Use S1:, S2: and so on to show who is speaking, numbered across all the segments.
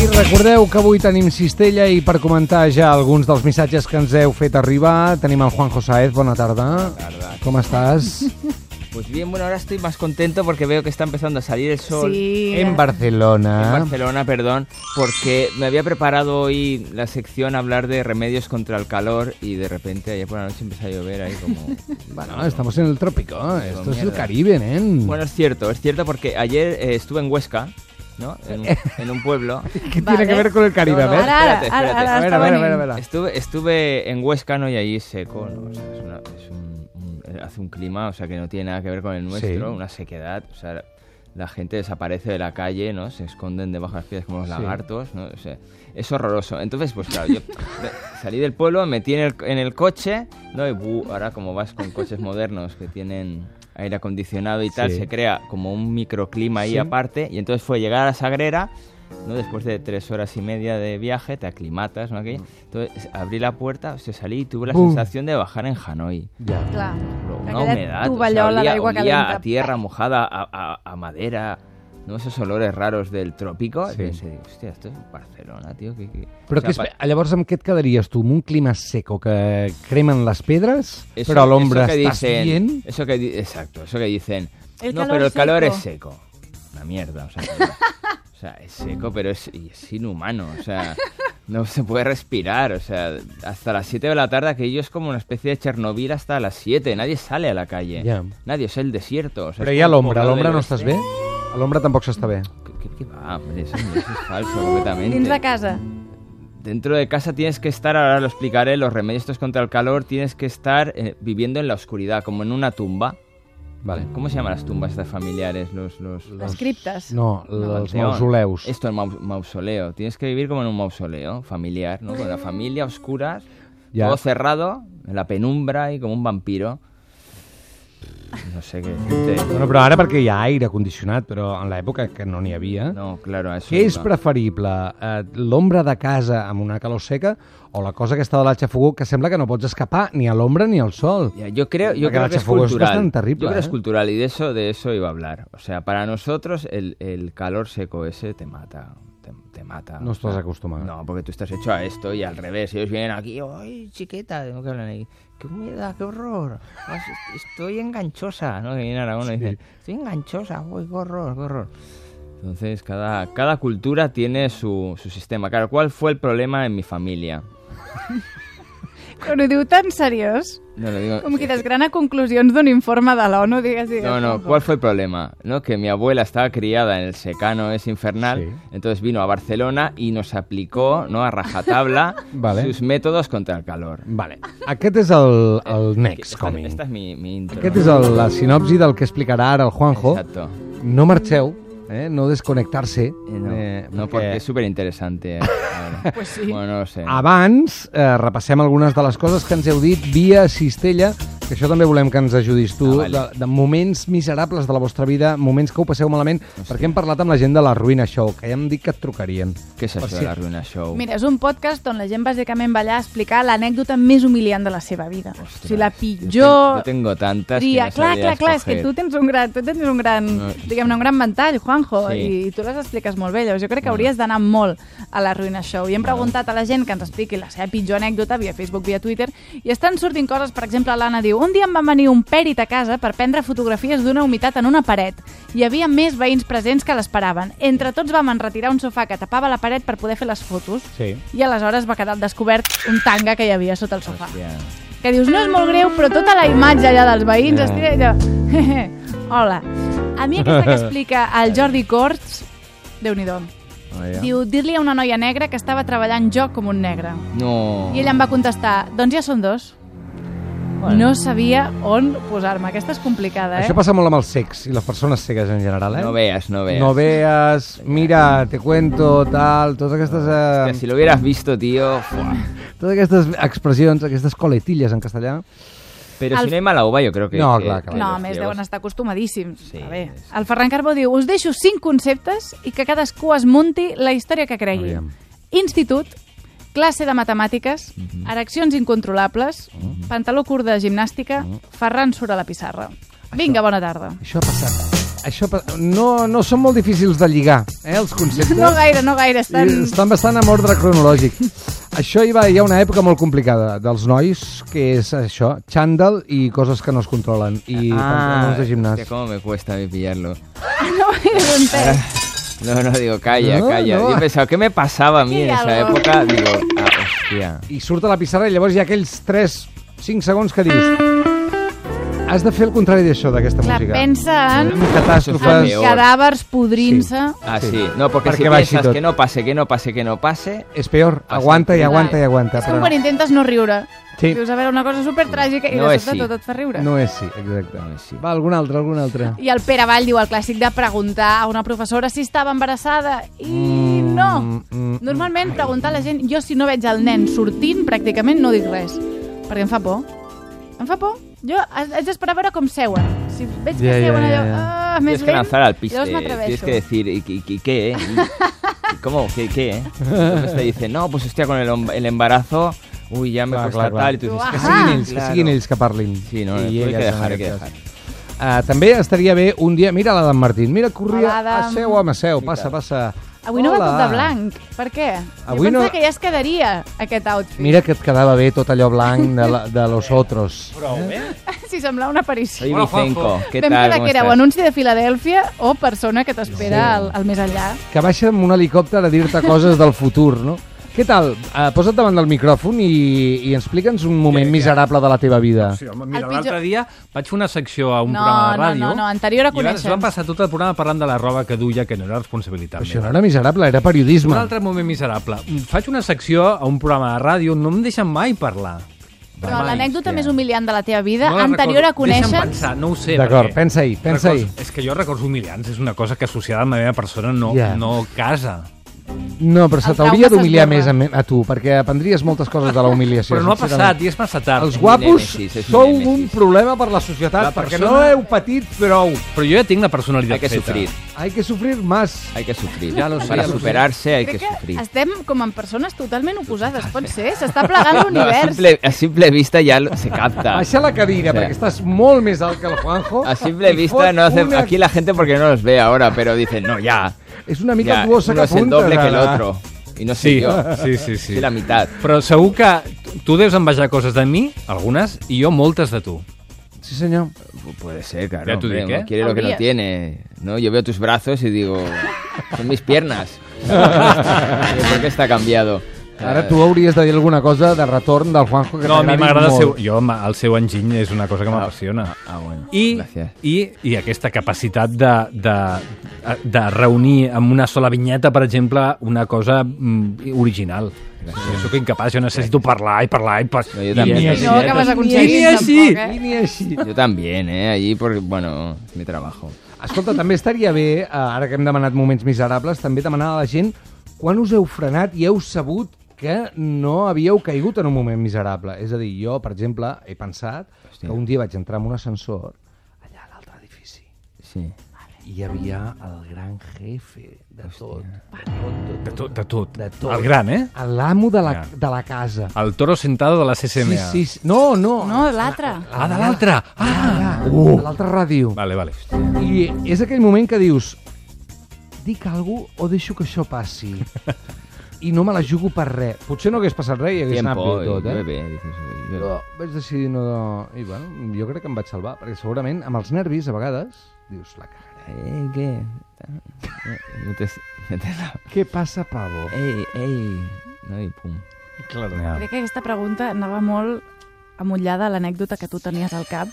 S1: I recordeu que avui tenim Cistella i per comentar ja alguns dels missatges que ens heu fet arribar tenim el Juanjo Saez, bona tarda.
S2: tarda.
S1: Com estàs?
S2: Pues bien, bueno, ahora estoy más contento porque veo que está empezando a salir el sol.
S3: Sí.
S1: en
S2: En
S1: Barcelona.
S2: Barcelona, perdón, porque me había preparado hoy la sección a hablar de remedios contra el calor y de repente ayer por la noche empezó a llover ahí como...
S1: Bueno, estamos en el trópico, esto es el
S2: mierda.
S1: Caribe, nen.
S2: Bueno, es cierto, es cierto porque ayer eh, estuve en Huesca, ¿no? En un, en un pueblo.
S1: ¿Qué
S3: Vale.
S1: tiene que ver con el Caribe?
S2: No,
S1: a
S2: no,
S1: ver.
S3: Ara, ara,
S2: espérate,
S3: ara, ara
S1: A ver,
S3: està
S1: a ver, a
S3: venint.
S1: ver, a ver.
S2: Estuve, estuve en Huesca, ¿no? Y allí seco, ¿no? O sea, es una- es un- un- hace un clima, o sea, que no tiene nada que ver con el nuestro,
S1: Sí.
S2: una sequedad, o sea, la gente desaparece de la calle, ¿no? Se esconden debajo de las piedras como los
S1: Sí.
S2: lagartos, ¿no? O sea, es horroroso. Entonces, pues claro, yo me- salí del pueblo, me metí en el, en el coche, ¿no? Y buh, ahora como vas con coches modernos que tienen aire acondicionado y tal,
S1: Sí.
S2: se crea como un microclima ahí
S1: Sí.
S2: aparte, y entonces fue llegar a la Sagrera, ¿no? después de tres horas y media de viaje, te aclimatas, ¿no? Aquello. Entonces abrí la puerta, se salí y tuve la
S1: Bum.
S2: sensación de bajar en Hanoi.
S1: Ja.
S3: Clar.
S2: Pero Una
S3: Aquella
S2: humedad, o sea,
S3: tovallola
S2: olía-
S3: d'aigua
S2: olía
S3: calenta.
S2: a tierra mojada, a, a- a madera, ¿no? esos olores raros del trópico.
S1: Sí.
S2: Y pensé, digo, hostia, esto es Barcelona, tío. Que, que-".
S1: Però
S2: O sea,
S1: que,
S2: pa-
S1: llavors amb què et quedaries tu? Amb un clima seco que cremen les pedres,
S2: eso-
S1: però a l'ombra
S2: eso que
S1: estàs
S2: dicen-
S1: bien?
S2: Eso que, di- exacto, eso que dicen.
S3: El
S2: no,
S3: calor
S2: pero el
S3: seco".
S2: calor es seco. Una mierda, o sea, que- o sea, es seco, pero es, y es inhumano, o sea, no se puede respirar, o sea, hasta las 7 de la tarde aquello es como una especie de Chernobyl hasta las 7, nadie sale a la calle.
S1: Ya.
S2: Nadie, es el desierto. o sea,
S1: Però
S2: es
S1: hi ha
S2: como un
S1: l'ombra, a
S2: poblado
S1: l'ombra
S2: del
S1: no estàs bé?
S2: oeste. ¿eh?
S1: A l'ombra tampoc s'està bé.
S2: ¿Qué, qué- qué va, hombre? Eso, eso es falso completamente.
S3: Dins de casa.
S2: Dentro de casa tienes que estar, ahora lo explicaré, los remedios estos contra el calor, tienes que estar eh, viviendo en la oscuridad, como en una tumba.
S1: Vale.
S2: ¿Cómo se llaman las tumbas estas familiares? Los, los,
S3: Les criptes.
S1: No, els
S2: Panteón.
S1: mausoleus.
S2: Esto, el mau- mausoleo. Tienes que vivir como en un mausoleo familiar, ¿no? Con la familia, oscuras,
S1: Ya.
S2: todo cerrado, en la penumbra y como un vampiro. No sé qué decirte.
S1: Bueno, però ara perquè hi ha aire condicionat, però en l'època que no n'hi havia... No.
S2: No, claro, a eso
S1: Què és
S2: iba.
S1: preferible? Eh, L'ombra de casa amb una calor seca o la cosa aquesta de la xafogó que sembla que no pots escapar ni a l'ombra ni al sol?
S2: Ya, yo creo,
S1: Porque
S2: yo
S1: la
S2: creo que es
S1: chafogó es
S2: cultural.
S1: bastante terrible,
S2: yo creo que
S1: ¿eh?
S2: es cultural y de eso, de eso iba a hablar. O sea, para nosotros el, el calor seco ese te mata. Te, te mata.
S1: No
S2: O sea,
S1: estàs acostumat.
S2: Ah, No, porque tú estás hecho a esto y al revés. Ellos vienen aquí, ¡ay, chiqueta! Tengo que hablar ahí. ¡Qué humedad, qué horror! Ay, Estoy enganchosa, ¿no? Que viene Aragón y dice, estoy enganchosa, uy, qué horror, qué horror. Entonces, cada, cada cultura tiene su, su sistema. Claro, ¿cuál fue el problema en mi familia?
S3: Quan ho diu tan seriós,
S2: No, lo digo,
S3: com que desgrana conclusions d'un informe de l'ONU, digues, digues.
S2: No, no, ¿cuál fue el problema? ¿No? Que mi abuela estaba criada en el secano es infernal,
S1: Sí.
S2: entonces vino a Barcelona y nos aplicó ¿no? a rajatabla
S1: Vale.
S2: sus métodos contra el calor.
S1: Vale. Aquest és el, el
S2: Eh,
S1: next
S2: Esta,
S1: coming.
S2: esta es mi, mi intro.
S1: Aquest és el, la sinopsi del que explicarà ara el Juanjo.
S2: Exacto.
S1: No marxeu, eh? no desconnectar-se.
S2: Eh, No,
S1: eh,
S2: no, porque es súper interesante.
S3: Pues sí.
S2: Bueno, no lo sé.
S1: Abans, eh, repassem algunes de les coses que ens heu dit via Cistella, que això també volem que ens ajudis tu,
S2: Ah, vale.
S1: de, de moments miserables de la vostra vida, moments que ho passeu malament, perquè hem parlat amb la gent de la Ruïna Show, que ja hem dit que et trucarien.
S2: ¿Qué es
S1: per
S2: eso de
S1: si-
S2: la ruina show?
S3: Mira, és un podcast on la gent bàsicament va allà a explicar l'anècdota més humiliant de la seva vida.
S2: Ostras,
S3: o sigui, la
S2: Yo,
S3: pitjor...
S2: te- yo tengo tantas.
S3: tria.
S2: que no
S3: clar,
S2: sabría
S3: clar, clar, és que
S2: escoger.
S3: tu tens un gran, tu tens un gran,
S2: No, sí.
S3: diguem-ne, un gran ventall, Juanjo,
S2: Sí.
S3: i, i tu les expliques molt bé. Llavors jo crec que hauries d'anar molt a la Ruïna Show. I hem preguntat a la gent que ens expliqui la seva pitjor anècdota via Facebook, via Twitter, i estan sortint coses, per exemple, l'Anna diu, un dia em va venir un pèrit a casa per prendre fotografies d'una humitat en una paret. Hi havia més veïns presents que l'esperaven. Entre tots vam enretirar un sofà que tapava la paret per poder fer les fotos.
S1: Sí.
S3: I aleshores va quedar al descobert un tanga que hi havia sota el sofà
S2: Hostia.
S3: que dius, no és molt greu, però tota la imatge allà dels veïns estira allò. Hehe, Hola. A mi aquesta que explica el Jordi Corts, déu nhi
S1: Oh,
S2: Vaya.
S3: diu, dir-li a una noia negra que estava treballant jo com un negre.
S2: No.
S3: I ella em va contestar, doncs ja són dos. No sabia on posar-me. Aquesta és complicada, eh?
S1: Això passa molt amb els secs i les persones cegues en general, eh?
S2: No veas, no veas.
S1: No veas, mira, te cuento, tal, totes aquestes,
S2: Hostia,
S1: eh,
S2: si lo hubieras visto, tío. fuah.
S1: totes aquestes expressions, aquestes coletilles en castellà.
S2: Pero
S3: Al-
S2: si no hay mala uva, yo creo que...
S1: No,
S2: que-
S1: clar,
S2: que
S1: clar.
S3: No, a
S2: los
S3: més,
S2: ciegos-
S3: deuen estar acostumadíssims.
S2: Sí,
S3: Sí, a veure,
S2: sí.
S3: el Ferran Carbó diu us deixo cinc conceptes i que cadascú es munti la història que cregui.
S1: Aviam.
S3: Institut, classe de matemàtiques,
S1: Mhm.
S3: ereccions incontrolables,
S1: Oh.
S3: pantaló curt de gimnàstica, Ferran surt a la pissarra. Vinga, bona tarda.
S1: Això ha passat Això pa- no, no són molt difícils de lligar, eh, els conceptes.
S3: No gaire, no gaire. Estan...
S1: I Estan bastant en ordre cronològic. Això hi va, hi ha una època molt complicada dels nois, que és això, xandall i coses que no es controlen, i
S3: Ah,
S1: pantalons de gimnàs.
S2: Ah, hostia, cómo me cuesta a mí pillarlo.
S3: No gaire ben
S1: Eh,
S3: pes.
S2: No, no, digo, calla,
S1: No,
S2: calla.
S1: no.
S2: Yo pensaba, ¿qué me pasaba a mí en
S3: Aquí hay
S2: esa
S3: algo.
S2: época? Digo, ah, hostia.
S1: I surt a la pissarra i llavors hi ha aquells 3-5 segons que dius has de fer el contrari d'això, d'aquesta
S3: Clar,
S1: música.
S3: pensa en,
S1: En
S3: en
S1: catàstrofes...
S2: Peor.
S3: cadàvers podrint-se.
S2: Ah,
S1: Sí.
S2: sí. No, porque
S1: Para
S2: si
S1: que vaya todo.
S2: piensas que no pase, que no pase, que no pase...
S1: És peor, aguanta i aguanta i aguanta.
S3: És com quan intentes no riure.
S1: Sí.
S3: Dius, a veure, una cosa supertràgica i
S2: No
S3: de
S2: és
S3: sobte
S2: sí.
S3: tot et fa riure.
S1: No és sí, exacte.
S2: No és sí.
S1: Va, algun altre, algun altre.
S3: I el Pere Vall diu el clàssic de preguntar a una professora si estava embarassada i no.
S1: mm,
S3: Normalment preguntar a la gent, jo si no veig el nen sortint pràcticament no dic res, perquè em fa por. Em fa por. Jo haig haig d'esperar a veure com seuen. Si veig que
S1: Ja, ja,
S3: seuen
S1: ja,
S3: allò,
S1: ja.
S3: ah, més
S2: Tienes que
S3: lent,
S2: lanzar al piso.
S3: llavors
S2: Tienes
S3: m'atreveixo.
S2: que decir, ¿y, y- y qué? eh? ¿Y- y ¿Cómo? ¿Qué? qué eh? Entonces te dicen, no, pues hostia, con el, hom- el embarazo, uy, ya me
S1: Claro,
S2: cuesta
S1: claro,
S2: tal. Y tú
S1: claro.
S2: dices,
S1: Que
S3: Tú, ajá.
S1: siguin ells, que
S2: Claro.
S1: siguin ells que parlin.
S2: Sí, no,
S1: I
S2: no, tú hay que
S1: elles, en
S2: dejar, hay
S1: aquest
S2: que
S1: cas.
S2: dejar.
S1: Ah, també estaria bé un dia... Mira l'Adam Martín, mira, corria...
S3: Hola, Adam.
S1: Asseu, home, asseu, passa, passa.
S3: Avui no va
S1: Hola.
S3: tot de blanc. Per què?
S1: Avui
S3: jo pensava
S1: no-
S3: que ja es quedaria aquest outfit.
S1: Mira que et quedava bé tot allò blanc de, la, de los otros.
S3: Eh? Si semblava una aparició.
S2: Soy Vicenco, ¿qué
S3: Vam
S2: tal?
S3: quedar
S2: ¿Cómo
S3: que era o
S2: estás?
S3: anunci de Filadèlfia o persona que t'espera
S1: Sí.
S3: al, al més enllà.
S1: Que baixa amb un helicòpter a dir-te coses del futur, no? Què tal? Uh, posa't davant del micròfon i, i explica'ns un moment miserable de la teva vida.
S4: Sí, home, mira,
S3: El
S4: l'altre
S3: pitjor-
S4: dia vaig fer una secció a un
S3: No,
S4: programa de
S3: no,
S4: ràdio...
S3: no, no, anterior a
S4: i va- es
S3: Coneixem.
S4: va passar tot el programa parlant de la roba que duia, que no era responsabilitat
S1: Això no
S4: meva.
S1: era miserable, era
S4: Un
S1: periodisme.
S4: altre moment miserable. Faig una secció a un programa de ràdio, no em deixen mai parlar.
S3: Però l'anècdota
S2: hòstia.
S3: més humiliant de la teva vida,
S4: la
S3: anterior
S4: recordo.
S3: a conèixer...
S4: Deixa'm pensar, no ho sé.
S1: D'acord,
S4: perquè
S1: pensa-hi, pensa-hi.
S4: records- És que jo records humiliants és una cosa que associada amb la meva persona no,
S1: Ja.
S4: no casa.
S1: No, però se
S3: El
S1: t'hauria
S3: trauma
S1: d'humiliar més
S3: s'esborra.
S1: a, me- a tu, perquè aprendries moltes coses de la humiliació.
S4: Però no ha
S1: sincerament.
S4: passat i és massa tard.
S1: Els guapos
S2: nèmesis, és un
S1: sou
S2: nèmesis.
S1: un problema per la societat,
S4: La
S1: perquè
S4: persona-
S1: no heu patit prou.
S4: Però jo ja tinc la
S2: Hay
S4: personalitat
S2: que
S4: feta.
S2: sufrir,
S1: Hay que sufrir más.
S2: hay que sufrir.
S4: Ya lo sé,
S2: Para
S4: ya lo sé.
S2: superarse hay que
S3: Crec que
S2: sufrir.
S3: estem com en persones totalment oposades, pot ser? S'està plegant
S2: No, a,
S3: l'univers.
S2: simple, a simple vista ya lo- se capta.
S1: Baixa la cadira,
S2: O sea,
S1: perquè estàs molt més alt que el Juanjo.
S2: A simple
S1: i
S2: vista
S1: fot
S2: no hace...
S1: una-
S2: Aquí la gente porque no los ve ahora, pero dicen, no, ya.
S1: És una mica
S2: ya uno
S1: tuosa que
S2: es el
S1: apunta.
S2: doble que el otro. Y no sé
S4: Sí,
S2: yo.
S4: sí, sí, sí.
S2: Soy la mitad.
S4: Però segur que tu- tu deus envejar coses de mi, algunes, i jo moltes de tu.
S1: Sí, senyor.
S2: Pu- Puede ser, claro.
S4: Ya tú
S2: hombre,
S4: di, ¿qué?
S2: uno quiere lo que no
S3: Habría.
S2: tiene. ¿no? Yo veo tus brazos y digo, son mis piernas. ¿Por qué está cambiado?
S1: Ara tu hauries de dir alguna cosa de retorn del Juanjo que
S4: No, a mi
S1: t'agradi
S4: m'agrada el
S1: molt.
S4: seu... Jo, ma- el seu enginy és una cosa que m'apassiona.
S2: Ah, bueno.
S4: I,
S2: Gràcies.
S4: i, I aquesta capacitat de, de, de reunir amb una sola vinyeta, per exemple, una cosa mm, original. Jo sóc incapaç, jo necessito parlar i parlar i... Par...
S2: No, jo també.
S4: I ni
S2: No,
S4: així.
S3: No ho acabes aconseguint,
S4: Ni així.
S3: tampoc, eh?
S1: Ni així.
S2: Yo también, ¿eh? Allí porque, bueno, es mi trabajo.
S1: Escolta, també estaria bé, eh, ara que hem demanat moments miserables, també demanar a la gent quan us heu frenat i heu sabut que no havíeu caigut en un moment miserable. És a dir, jo, per exemple, he pensat Hòstia. que un dia vaig entrar en un ascensor allà a l'altre edifici
S2: Sí.
S1: i hi havia el gran jefe de tot.
S4: De tot, de tot.
S1: De tot.
S4: El gran, eh?
S1: L'amo de, la,
S4: Ja.
S1: de la casa.
S4: El toro sentado de la CCMA.
S1: Sí, sí, no, no.
S3: No, l'altre.
S4: Ah, de l'altre! Ah!
S1: Uh. L'altra ràdio.
S4: Vale, vale.
S1: I és aquell moment que dius dic alguna cosa o deixo que això passi i no me la jugo per res. Potser no hagués passat res i hagués
S2: Tiempo,
S1: anat bé
S2: y
S1: tot, eh?
S2: llueve, dices, y llueve.
S1: Però vaig decidir no... I bueno, jo crec que em vaig salvar, perquè segurament amb els nervis, a vegades, dius la cagaré.
S2: Eh, ¿qué? No te- no te-
S1: Què passa, pavo?
S2: Ey, ey. No, y pum.
S4: Claro.
S3: Crec que aquesta pregunta anava molt amullada a l'anècdota que tu tenies al cap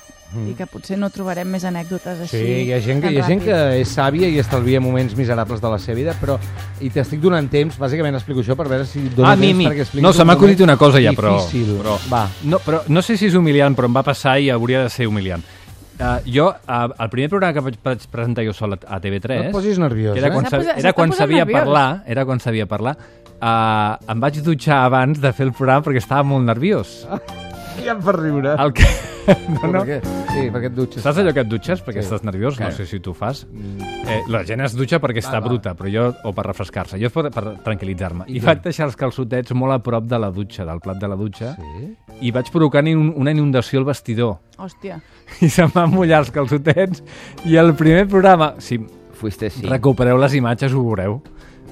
S3: i que potser no trobarem més anècdotes així
S1: Sí, hi ha gent que,
S3: tan
S1: hi ha gent que
S3: ràpid.
S1: és sàvia i estalvia moments miserables de la seva vida, però i t'estic donant temps, bàsicament explico això per veure si dono
S4: Ah, a mi, a
S1: temps
S4: mi.
S1: perquè expliquis
S4: No, se
S1: un
S4: m'ha acudit
S1: moment
S4: una cosa ja, però...
S1: Difícil.
S4: però...
S1: Va.
S4: No, però no sé si és humiliant, però em va passar i hauria de ser humiliant. Uh, jo, uh, el primer programa que vaig, vaig presentar jo sol a, a TV3...
S1: No et posis nerviós,
S4: que era
S1: eh?
S4: quan,
S3: S'ha
S4: sa-
S3: posat-
S4: era
S3: s'està
S4: quan
S3: posant
S4: sabia
S3: nerviós.
S4: parlar, Eh, era quan sabia parlar, uh, em vaig dutxar abans de fer el programa perquè estava molt nerviós.
S1: Ja em fa riure.
S4: El que... No,
S1: No,
S4: no.
S1: no. Sí, perquè et dutxes.
S4: Saps allò que et dutxes perquè
S1: Sí.
S4: estàs nerviós? No
S1: Claro.
S4: sé si tu ho fas. Eh, la gent es dutxa perquè està
S1: va.
S4: bruta, però jo, o per refrescar-se, jo per, per tranquil·litzar-me. I,
S1: I
S4: vaig deixar els calçotets molt a prop de la dutxa, del plat de la dutxa,
S1: Sí?
S4: i vaig provocar ni un, una inundació al vestidor.
S3: Hòstia.
S4: I se'm van mullar els calçotets, i el primer programa... Si
S2: Fuiste sí.
S4: recupereu les imatges, ho veureu.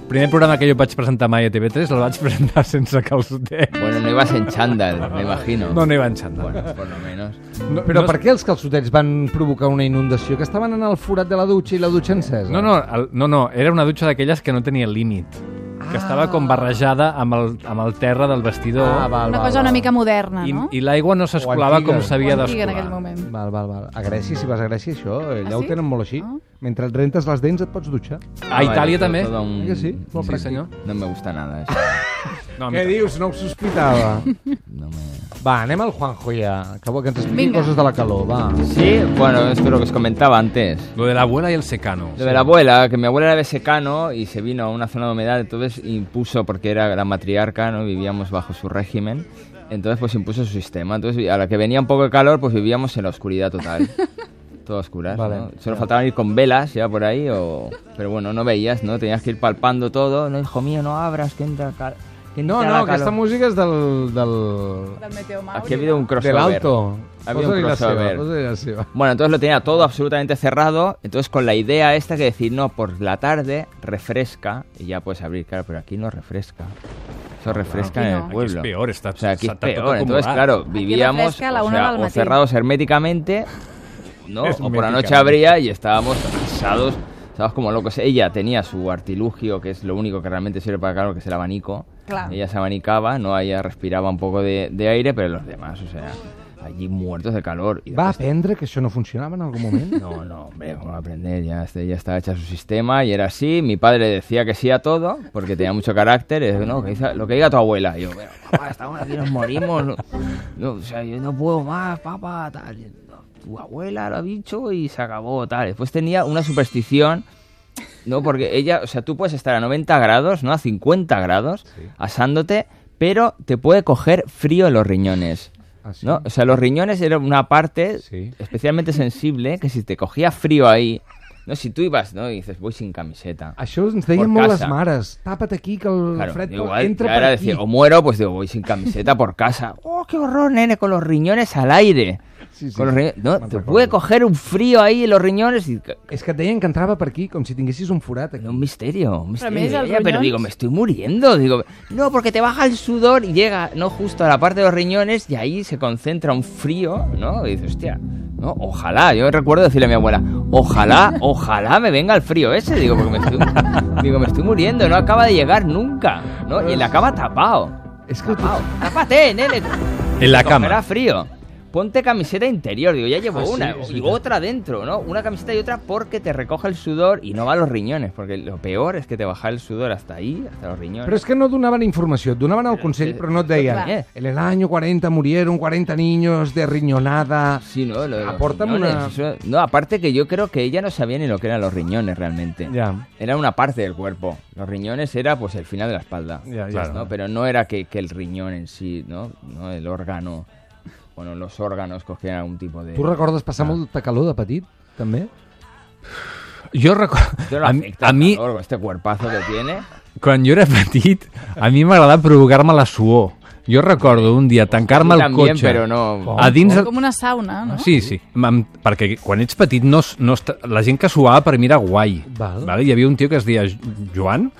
S4: El primer programa que jo vaig presentar mai a TV3 el vaig presentar sense calçotets.
S2: Bueno, no ibas en chándal, me imagino.
S4: No, no hi va enxandar.
S2: Bueno, por lo menos.
S4: No,
S1: Però
S4: no-
S1: per què els calçotets van provocar una inundació? Que estaven en el forat de la dutxa i la dutxa encesa?
S4: No, no, el, no, no, era una dutxa d'aquelles que no tenia límit, que estava com barrejada amb el, amb el terra del vestidor
S1: Ah, val,
S3: Una
S1: val,
S3: cosa
S1: val.
S3: una mica moderna,
S4: i,
S3: Ah, no?
S4: i l'aigua no s'escolava
S1: antiga.
S4: com s'havia
S3: Ho antiga en
S4: d'escolar.
S3: aquell moment.
S1: Val, val, val. A Grècia, si vas a Grècia, això, allà
S3: Ah,
S1: ho
S3: sí?
S1: tenen molt així.
S3: Ah.
S1: Mentre et rentes les dents et pots dutxar.
S2: Ah,
S1: Eh
S4: A Itàlia
S2: todo-
S4: també.
S2: todo un-
S1: Que Mm, sí? Molt
S4: Sí,
S1: pràctic.
S4: senyor.
S2: No me gusta nada eso.
S4: No,
S1: Què dius? No ho sospitava.
S2: No me-
S1: va, anem al Juanjo ja, que, vol que ens expliqui
S3: Vinga.
S1: coses de la calor, va.
S2: Sí, bueno, es lo que os comentaba antes.
S4: Lo de l'abuela i el secano.
S2: Lo de la abuela, que mi abuela era de secano y se vino a una zona de humedad, entonces impuso, porque era la matriarca, ¿no? vivíamos bajo su régimen, entonces pues impuso su sistema. Entonces a la que venía un poco de calor, pues vivíamos en la oscuridad total. Todo a oscuras,
S1: Vale,
S2: ¿no? Solo faltaban ir con velas ya por ahí, o... pero bueno, no veías, ¿no? Tenías que ir palpando todo, no, hijo mío, no abras, que entra cal- que
S1: No,
S2: entra
S1: no,
S2: la calor.
S1: aquesta música és del... del...
S3: Del Meteo Mauri.
S2: Aquí ha habido un
S1: de
S2: crossover.
S1: l'alto.
S2: Ha habido
S1: Posa-li
S2: un
S1: la seva,
S2: crossover.
S1: posa-li la seva.
S2: Bueno, entonces lo tenía todo absolutamente cerrado. Entonces con la idea esta que decir, no, por la tarde refresca y ya puedes abrir, claro, pero aquí no refresca. Eso refresca
S3: Aquí
S2: en
S3: no.
S2: el pueblo.
S4: Aquí es peor, está-
S2: o sea, aquí es
S4: está todo
S2: peor. Entonces,
S4: acomodado.
S2: claro,
S3: Aquí
S2: vivíamos
S3: refresca a la
S2: o,
S3: una
S2: sea,
S3: del
S2: o
S3: matí.
S2: cerrados herméticamente, ¿no?
S4: Es
S2: o por la
S4: herméticamente.
S2: noche abría y estábamos asados, estábamos como locos. Ella tenía su artilugio, que es lo único que realmente sirve para calor, que es el abanico.
S3: Claro.
S2: Ella se abanicaba, no, ella respiraba un poco de, de aire, pero los demás, o sea, allí muertos de calor. Y
S1: Va
S2: después
S1: aprendre que això no funcionava en algun moment?
S2: ¿eh? no, no, hombre, ¿cómo va a aprender? Ya, este- ya estaba hecha su sistema y era así. Mi padre decía que sí a todo porque tenía mucho carácter. Es, no, que dice- lo que diga tu abuela. Y yo, bueno, papá, estamos aquí, nos morimos. No, no, o sea, yo no puedo más, papá, tal. No, tu abuela lo ha dicho y se acabó, tal. Después tenía una superstición. No, porque ella, o sea, tú puedes estar a 90 grados, ¿no? A 50 grados, asándote, pero te puede coger frío en los riñones.
S1: Ah, sí?
S2: ¿no? O sea, los riñones era una parte
S1: Sí.
S2: especialmente sensible que si te cogía frío ahí, no, si tú ibas, ¿no? Y dices, voy sin camiseta.
S1: Això ens deien
S2: Por
S1: molt les
S2: casa.
S1: mares. Tapa't aquí, que el
S2: Claro,
S1: fred
S2: igual,
S1: entra
S2: ahora
S1: per aquí.
S2: decir, o muero, pues digo, voy sin camiseta por casa. ¡Oh, qué horror, nene! Con los riñones al aire.
S1: Sí, sí.
S2: Con los riñones-
S1: Me
S2: no, te
S1: recordo.
S2: puede coger un frío ahí en los riñones y
S1: És que et deien que entrava per aquí, com si tinguessis un forat aquí.
S2: Un misterio, un misterio.
S3: més, els
S2: Ella, pero
S3: ronyons-
S2: digo, me estoy muriendo. Digo, no, porque te baja el sudor y llega, no, justo a la parte de los riñones y ahí se concentra un frío, ¿no? Y dices, hostia, no, ojalá. Yo recuerdo decirle a mi abuela, ojalá, ojalá me venga el frío ese. Digo, porque me estoy, digo, me estoy muriendo, no acaba de llegar nunca, ¿no? Y en la cama tapado.
S1: És que tu...
S2: Tapado. Tápate, nene.
S4: En la cama.
S2: Cogerá frío. Ponte camiseta interior, digo, ya llevo
S1: Ah, sí,
S2: una
S1: es
S2: y
S1: verdad.
S2: otra dentro, ¿no? Una camiseta y otra porque te recoge el sudor y no va a los riñones, porque lo peor es que te baja el sudor hasta ahí, hasta los riñones.
S1: Però és que no donaven informació, et donaven el consell, però no et deien
S2: Clar.
S1: en el año 40 murieron 40 niños de riñonada...
S2: Sí, no, Lo de los
S1: Apórtame
S2: riñones,
S1: una-
S2: eso- No, aparte que yo creo que ella no sabía ni lo que eran los riñones realmente.
S1: Ja.
S2: Era una parte del cuerpo. Los riñones era pues el final de la espalda.
S1: Ya, ya
S2: Claro,
S1: está.
S2: ¿no? Pero no era que, que el riñón en sí, ¿no? ¿no? El órgano. Bueno, los órganos cogían algún tipo de.
S1: Tu recordes passar molta calor de petit, també?
S4: Jo recordo...
S2: Esto no
S4: A, mi-
S2: afecta
S4: a
S2: al
S4: mi,
S2: calor, este cuerpazo que tiene.
S4: quan jo era petit, a mi m'agradava provocar-me la suor. Jo recordo un dia tancar-me
S2: Sí,
S4: el
S2: también,
S4: cotxe...
S2: pero no.
S4: A dins de,
S3: Com una sauna, no?
S4: Ah, Sí, sí. Mam- perquè quan ets petit no, es- no està, la gent que suava per mi era guai.
S1: Val.
S4: Vale? Hi havia un tio que es deia Jo- Joan,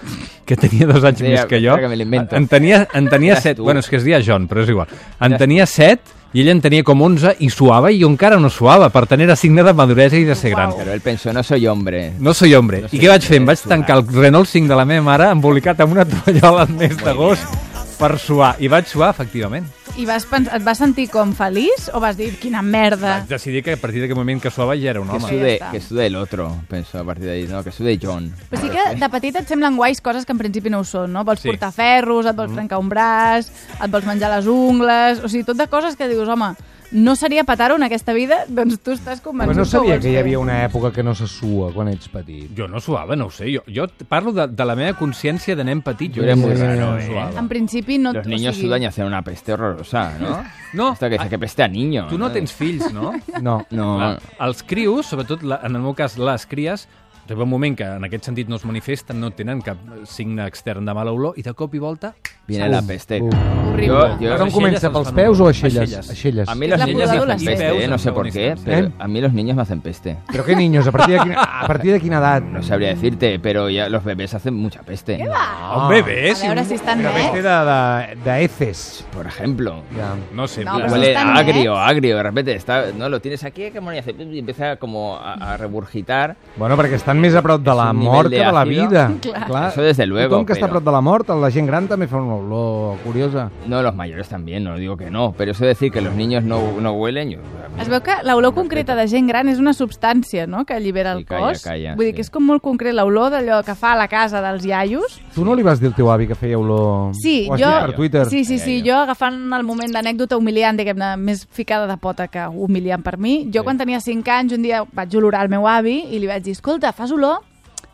S4: que tenia dos anys
S2: Sí,
S4: més que jo.
S2: espera que me l'invento.
S4: En tenia, en tenia
S2: Eres
S4: set.
S2: tu.
S4: Bueno, és que es deia John, però és igual. En tenia set i ell en tenia com 11 i suava i jo encara no suava. Per tant, era signe de maduresa i de ser gran.
S2: Pero él pensó, no soy hombre.
S4: No soy hombre. I què vaig fer? Em vaig tancar el Renault 5 de la meva mare embolicat amb una tovallola al mes d'agost per suar. I vaig suar, efectivament.
S3: I vas pens- et vas sentir com feliç o vas dir quina merda?
S4: Vaig decidir que a partir d'aquell moment que suava ja era un
S2: Ah. Que
S4: home.
S2: sude,
S3: está. Pues
S2: que sude el otro, pensó a partir de ahí. No, que sude John.
S3: Però sí que de petit et semblen guais coses que en principi no ho són, no? Vols
S4: Sí.
S3: sí. portar
S1: Mm.
S3: ferros, et vols trencar un braç, et vols menjar les ungles... O sigui, tot de coses que dius, home, no seria petaro en aquesta vida, doncs tu estàs
S1: Però
S3: convençut
S1: no sabia
S3: ho vols
S1: que hi
S3: fer.
S1: havia una època que no se sua quan ets petit.
S4: Jo no suava, no ho sé. Jo, jo t- parlo de, de la meva consciència de nen petit.
S2: Yo era muy
S1: Sí,
S2: raro,
S1: sí.
S2: ¿eh?
S3: En principi no...
S2: Los
S3: o
S2: niños
S3: sigui,
S2: sudan y hacen una peste horrorosa, ¿no? ah,
S4: No,
S2: Esto que dice que peste a niño.
S4: tu no tens fills, no?
S1: No.
S2: No,
S4: Ah, Els crios, sobretot la, en el meu cas les cries, arriba un moment que en aquest sentit no es manifesten, no tenen cap signe extern de mala olor i de cop i volta...
S2: viene la peste.
S1: Uf.
S3: Horrible.
S2: Yo- yo-
S1: Però on
S4: aixelles
S1: comença,
S4: es
S1: pels
S4: fan
S1: peus o
S4: molt.
S1: aixelles?
S4: Aixelles.
S1: Aixelles.
S2: A mí los
S3: La
S2: niños me hacen
S3: pudadora,
S2: peste,
S4: sí.
S2: ¿eh? no sé por qué,
S1: ¿Eh?
S2: pero a mí los niños me hacen peste.
S1: Però què niños? A partir de quina, a partir de quina edat?
S2: No sabría decirte, pero ya los bebés hacen mucha peste.
S4: Ah, un bebè,
S3: A
S4: si...
S3: veure
S4: un-
S3: si estan
S1: Però
S3: bé.
S1: vés de, de, de heces.
S2: Por ejemplo.
S1: Ja.
S4: No sé,
S3: No,
S4: la-
S3: però
S2: Huele
S3: están bien. ¿eh?
S2: agrio, agrio, de repente está, no lo tienes aquí, que mono, y hace- y empieza como a, a regurgitar.
S1: Bueno, perquè estan més a prop de la
S2: un
S1: mort
S2: nivell
S1: que de la
S2: d'àcido.
S1: vida.
S3: Clar.
S2: Eso desde luego,
S1: Tothom que està a
S2: però-
S1: prop de la mort, la gent gran també fa una olor curiosa.
S2: No, los mayores también, no digo que no, pero eso de decir que los niños no, no huelen, yo-
S3: Es veu que l'olor concreta de gent gran és una substància, no?, que allibera el
S2: Sí, calla,
S3: cos.
S2: calla,
S3: Vull dir
S2: sí.
S3: que és com molt concret l'olor d'allò que fa a la casa dels iaios.
S1: Tu no li vas dir al teu avi que feia olor...
S3: Sí,
S1: Ho has
S3: jo...
S1: dit per Twitter.
S3: Sí, sí, sí,
S2: Ai, ai,
S3: jo agafant el moment d'anècdota humiliant, diguem-ne, més ficada de pota que humiliant per mi. Jo quan tenia 5 anys, un dia vaig olorar el meu avi i li vaig dir, escolta, fas olor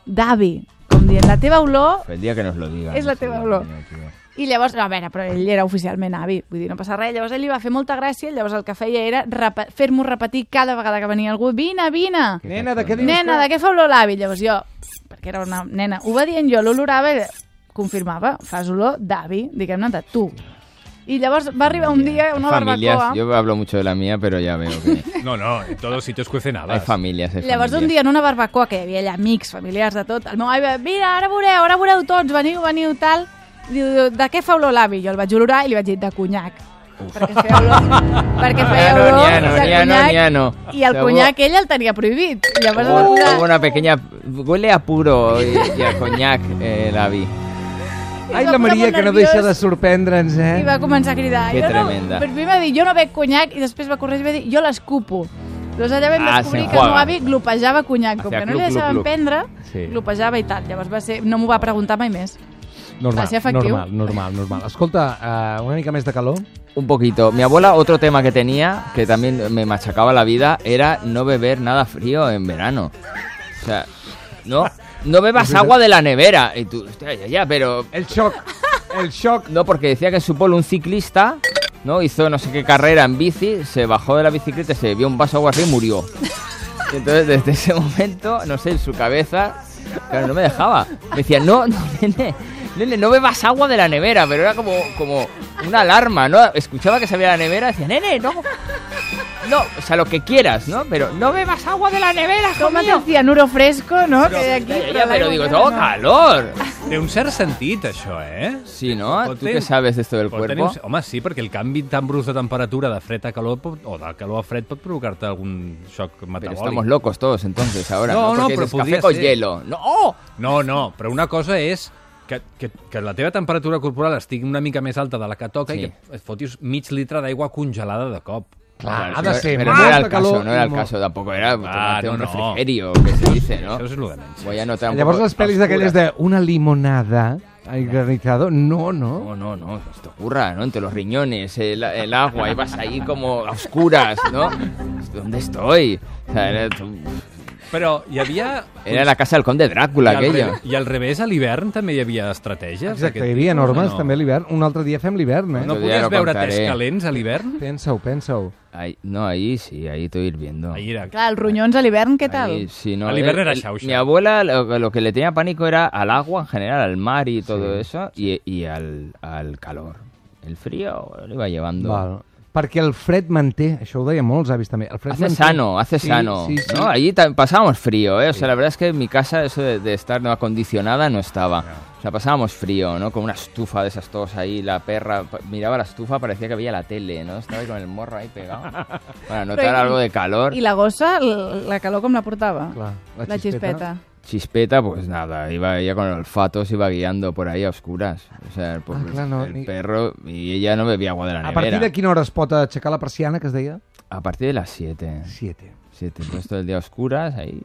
S3: d'avi. Com dient, la teva olor...
S2: el día que nos lo digan.
S3: Es la
S2: no sé,
S3: teva
S2: Dios
S3: olor.
S2: mío, tío.
S3: I llavors, no, a veure, però ell era oficialment avi, vull dir, no passa res. Llavors ell li va fer molta gràcia, llavors el que feia era repa- fer-m'ho repetir cada vegada que venia algú, vine, vine!
S1: Nena, de què dius?
S3: Nena, de
S1: que...
S3: què fa olor l'avi? Llavors jo, perquè era una nena, ho va dient jo, l'olorava i confirmava, fas olor d'avi, diguem-ne, de tu. I llavors va arribar un dia una
S2: familias,
S3: barbacoa.
S2: yo hablo mucho de la mía, pero ya veo que
S4: No, no, en todos sitios cuecen
S2: hay
S4: habas.
S2: familias. hay
S3: Llavors un
S2: familias.
S3: dia en una barbacoa, que hi havia allà amics, familiars de tot, el meu avi va dir, mira, ara veureu, ara veureu tots, veniu, veniu, tal. Diu, de què fa olor l'avi? Jo el vaig olorar i li vaig dir, de conyac. Perquè feia olor, perquè feia
S2: No, no,
S3: olor
S2: n'hi ha no,
S3: de
S2: n'hi ha no,
S3: conyac,
S2: n'hi ha no.
S3: i el
S2: Segur-
S3: conyac ell el tenia prohibit. Llavors em va
S2: Hubo-
S3: posar-
S2: hubo una pequeña... Huele a puro y, y a coñac, eh, la vi.
S1: Ai,
S3: Es va
S1: la
S3: posar
S1: Maria,
S3: molt
S1: que no
S3: nerviós.
S1: deixa de sorprendre'ns,
S3: I
S1: eh?
S3: va començar a cridar.
S2: Que
S3: jo
S2: tremenda.
S3: No, primer va dir, jo no bec conyac, i després va corregir i va dir, jo l'escupo. Doncs allà vam
S2: Ah,
S3: descobrir
S2: se'n
S3: que el meu
S2: juega.
S3: avi glopejava conyac, com
S2: Hacía
S3: que no li
S2: clup, clup,
S3: deixaven
S2: clup.
S3: prendre,
S1: Sí.
S3: glopejava i tal. Llavors va ser, no m'ho va preguntar mai més.
S1: Normal,
S3: Va ser efectiu.
S1: normal, normal, normal. Escolta, eh, una mica més de calor.
S2: Un poquito. Mi abuela, otro tema que tenía, que también me machacaba la vida, era no beber nada frío en verano. O sea, no, no bebas agua de la nevera. Y tú, hostia, ya, ya, pero...
S1: El xoc, el xoc.
S2: No, porque decía que en su pueblo un ciclista, ¿no? Hizo no sé qué carrera en bici, se bajó de la bicicleta, se bebió un vaso de agua fría y murió. Y entonces, desde ese momento, no sé, en su cabeza, claro, no me dejaba. Me decía, no, no, nene, nene, no bebas agua de la nevera, pero era como, como una alarma, ¿no? Escuchaba que se abría la nevera, decía, nene, no. No, o sea, lo que quieras, ¿no? Pero no bebas agua de la nevera, hijo
S3: Com et
S2: mío".
S3: decía, nuro fresco, no? que hi ha aquí,
S2: Ya, ya,
S3: l'aigua
S2: pero digo,
S3: freda
S2: tengo
S3: no.
S2: calor.
S4: Té un cert sentit, això, eh?
S2: Ah, Sí, ¿no?
S4: Pot
S2: ¿Tú
S4: tenir-
S2: qué sabes de esto del
S4: pot tenir
S2: cuerpo?
S4: un cer- Home, sí, perquè el canvi tan brusc de temperatura de fred a calor pot, o de calor a fred pot provocar-te algun xoc
S2: Pero
S4: metabòlic.
S2: estamos locos todos entonces ahora. No,
S4: No, no,
S2: Porque
S4: pero
S2: dices, café
S4: podría
S2: con
S4: ser.
S2: hielo. No,
S4: No, no, però una cosa és que, que, que la teva temperatura corporal estigui una mica més alta de la que toca
S2: Sí.
S4: sí. i que et fotis mig litre d'aigua congelada de cop.
S1: Clar, ha
S2: Pero-
S1: de ser
S2: pero no era el
S1: molta
S2: caso,
S1: calor.
S2: no era
S1: i
S2: el
S1: molt-
S2: caso tampoco. Era tomarte
S4: Ah, no,
S2: un
S4: no.
S2: refrigerio, que se dice, ¿no?
S4: Això és el de menys.
S2: Voy a anotar un
S1: Llavors
S2: poco
S1: les pel·lis
S2: oscura.
S1: d'aquelles de una limonada al granizado, no, no.
S2: No, no, no, esto ocurra, ¿no? Entre los riñones, el, el agua, y vas ahí como a oscuras, ¿no? ¿Dónde estoy? O sea, era,
S4: Però hi havia...
S2: era la casa del conde Drácula
S4: I al,
S2: aquella.
S4: re- I al revés, a l'ipern també hi havia estratègies.
S1: Exacte,
S4: d'aquest
S1: hi havia
S4: tipus, o
S1: normes també a l'hivern. Un altre dia fem l'hivern, eh?
S4: No
S2: Otro dia
S4: podies
S2: lo
S4: beure
S2: contaré.
S4: tés calents a l'hivern?
S1: Pensa-ho, pensa-ho.
S2: Ahí- no, ahí sí, ahí estoy hirviendo.
S4: Ahí era...
S3: Clar, els ronyons a l'hivern, què tal?
S2: Ahí, sí, no,
S4: Al hivern
S2: el-
S4: era
S2: el-
S4: xauxa.
S2: Mi abuela lo, lo que le tenía pánico era al agua en general, al mar y todo eso, y, y al, al calor. El frío lo iba llevando.
S1: Val. Perquè el fred manté, això ho deien molts avis també. El fred
S2: Hace
S1: manté.
S2: sano, hace
S1: Sí,
S2: sano.
S1: Sí, sí.
S2: ¿no? Allí tam- pasábamos frío, ¿eh? O sea, la verdad es que en mi casa eso de, de estar no acondicionada no estaba. O sea, pasábamos frío, ¿no? Con una estufa de esas todos ahí, la perra pa- miraba la estufa, parecía que veía la tele, ¿no? Estaba ahí con el morro ahí pegado. Para notar
S3: Pero-
S2: algo de calor.
S3: I la gossa, l- la calor com la portava?
S1: Clar, la
S3: la
S1: xispeta.
S3: xispeta.
S2: Chispeta, pues nada, iba ella con el olfato, se iba guiando por ahí a oscuras. O sea, el, pobre-
S1: Ah, claro, no,
S2: el
S1: ni-
S2: perro y ella no bebía agua de la
S1: A
S2: nevera.
S1: partir de quina hora es pot aixecar la persiana, que es deia?
S2: A partir de las 7.
S1: 7.
S2: 7, pues todo el día a oscuras, ahí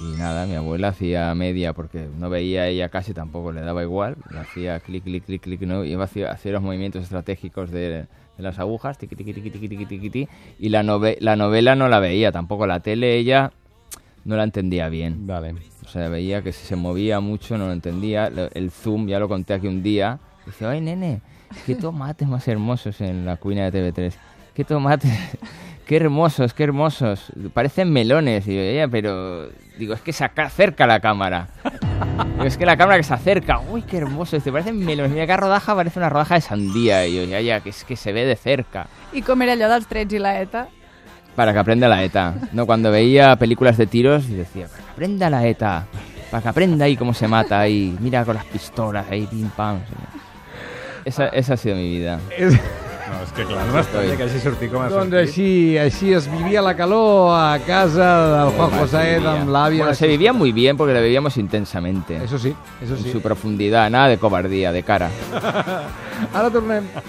S2: Y nada, mi abuela hacía media porque no veía ella casi, tampoco le daba igual. Le hacía clic, clic, clic, clic, no. Iba hacia- hacia los movimientos estratégicos de, de las agujas, tiqui, tiqui, tiqui, tiqui, tiqui, tiqui, tiqui. Y la, nove- la novela no la veía tampoco. La tele ella no la entendía bien.
S5: Vale.
S2: O sea, veía que si se movía mucho no lo entendía. Lo- El zoom, ya lo conté aquí un día. Dice, ay, nene, qué tomates más hermosos en la cuina de TV3. Qué tomates, qué hermosos, qué hermosos. Parecen melones. Y yo, ella, pero... Digo, es que se aca- acerca la cámara. Digo, es que la cámara que se acerca. Uy, qué hermoso. Dice, parecen melones. Mira, cada rodaja parece una rodaja de sandía. Y yo, ya, ya, que es que se ve de cerca.
S3: I com era allò dels trets i la ETA?
S2: Para que aprenda la ETA. No, cuando veía películas de tiros y decía, para que aprenda la ETA. Para que aprenda ahí cómo se mata ahí. Mira con las pistolas ahí, pim pam. Esa, esa ha sido mi vida.
S4: No, és que clar, no m'estranya que hagi sortit com ha
S1: Doncs
S4: sortit.
S1: així, així es vivia la calor a casa del Juan José, amb l'àvia...
S2: Bueno, se vivía muy bien porque la vivíamos intensamente.
S1: Eso sí, eso
S2: En
S1: sí.
S2: su profundidad, nada de cobardía, de cara.
S1: Ara tornem.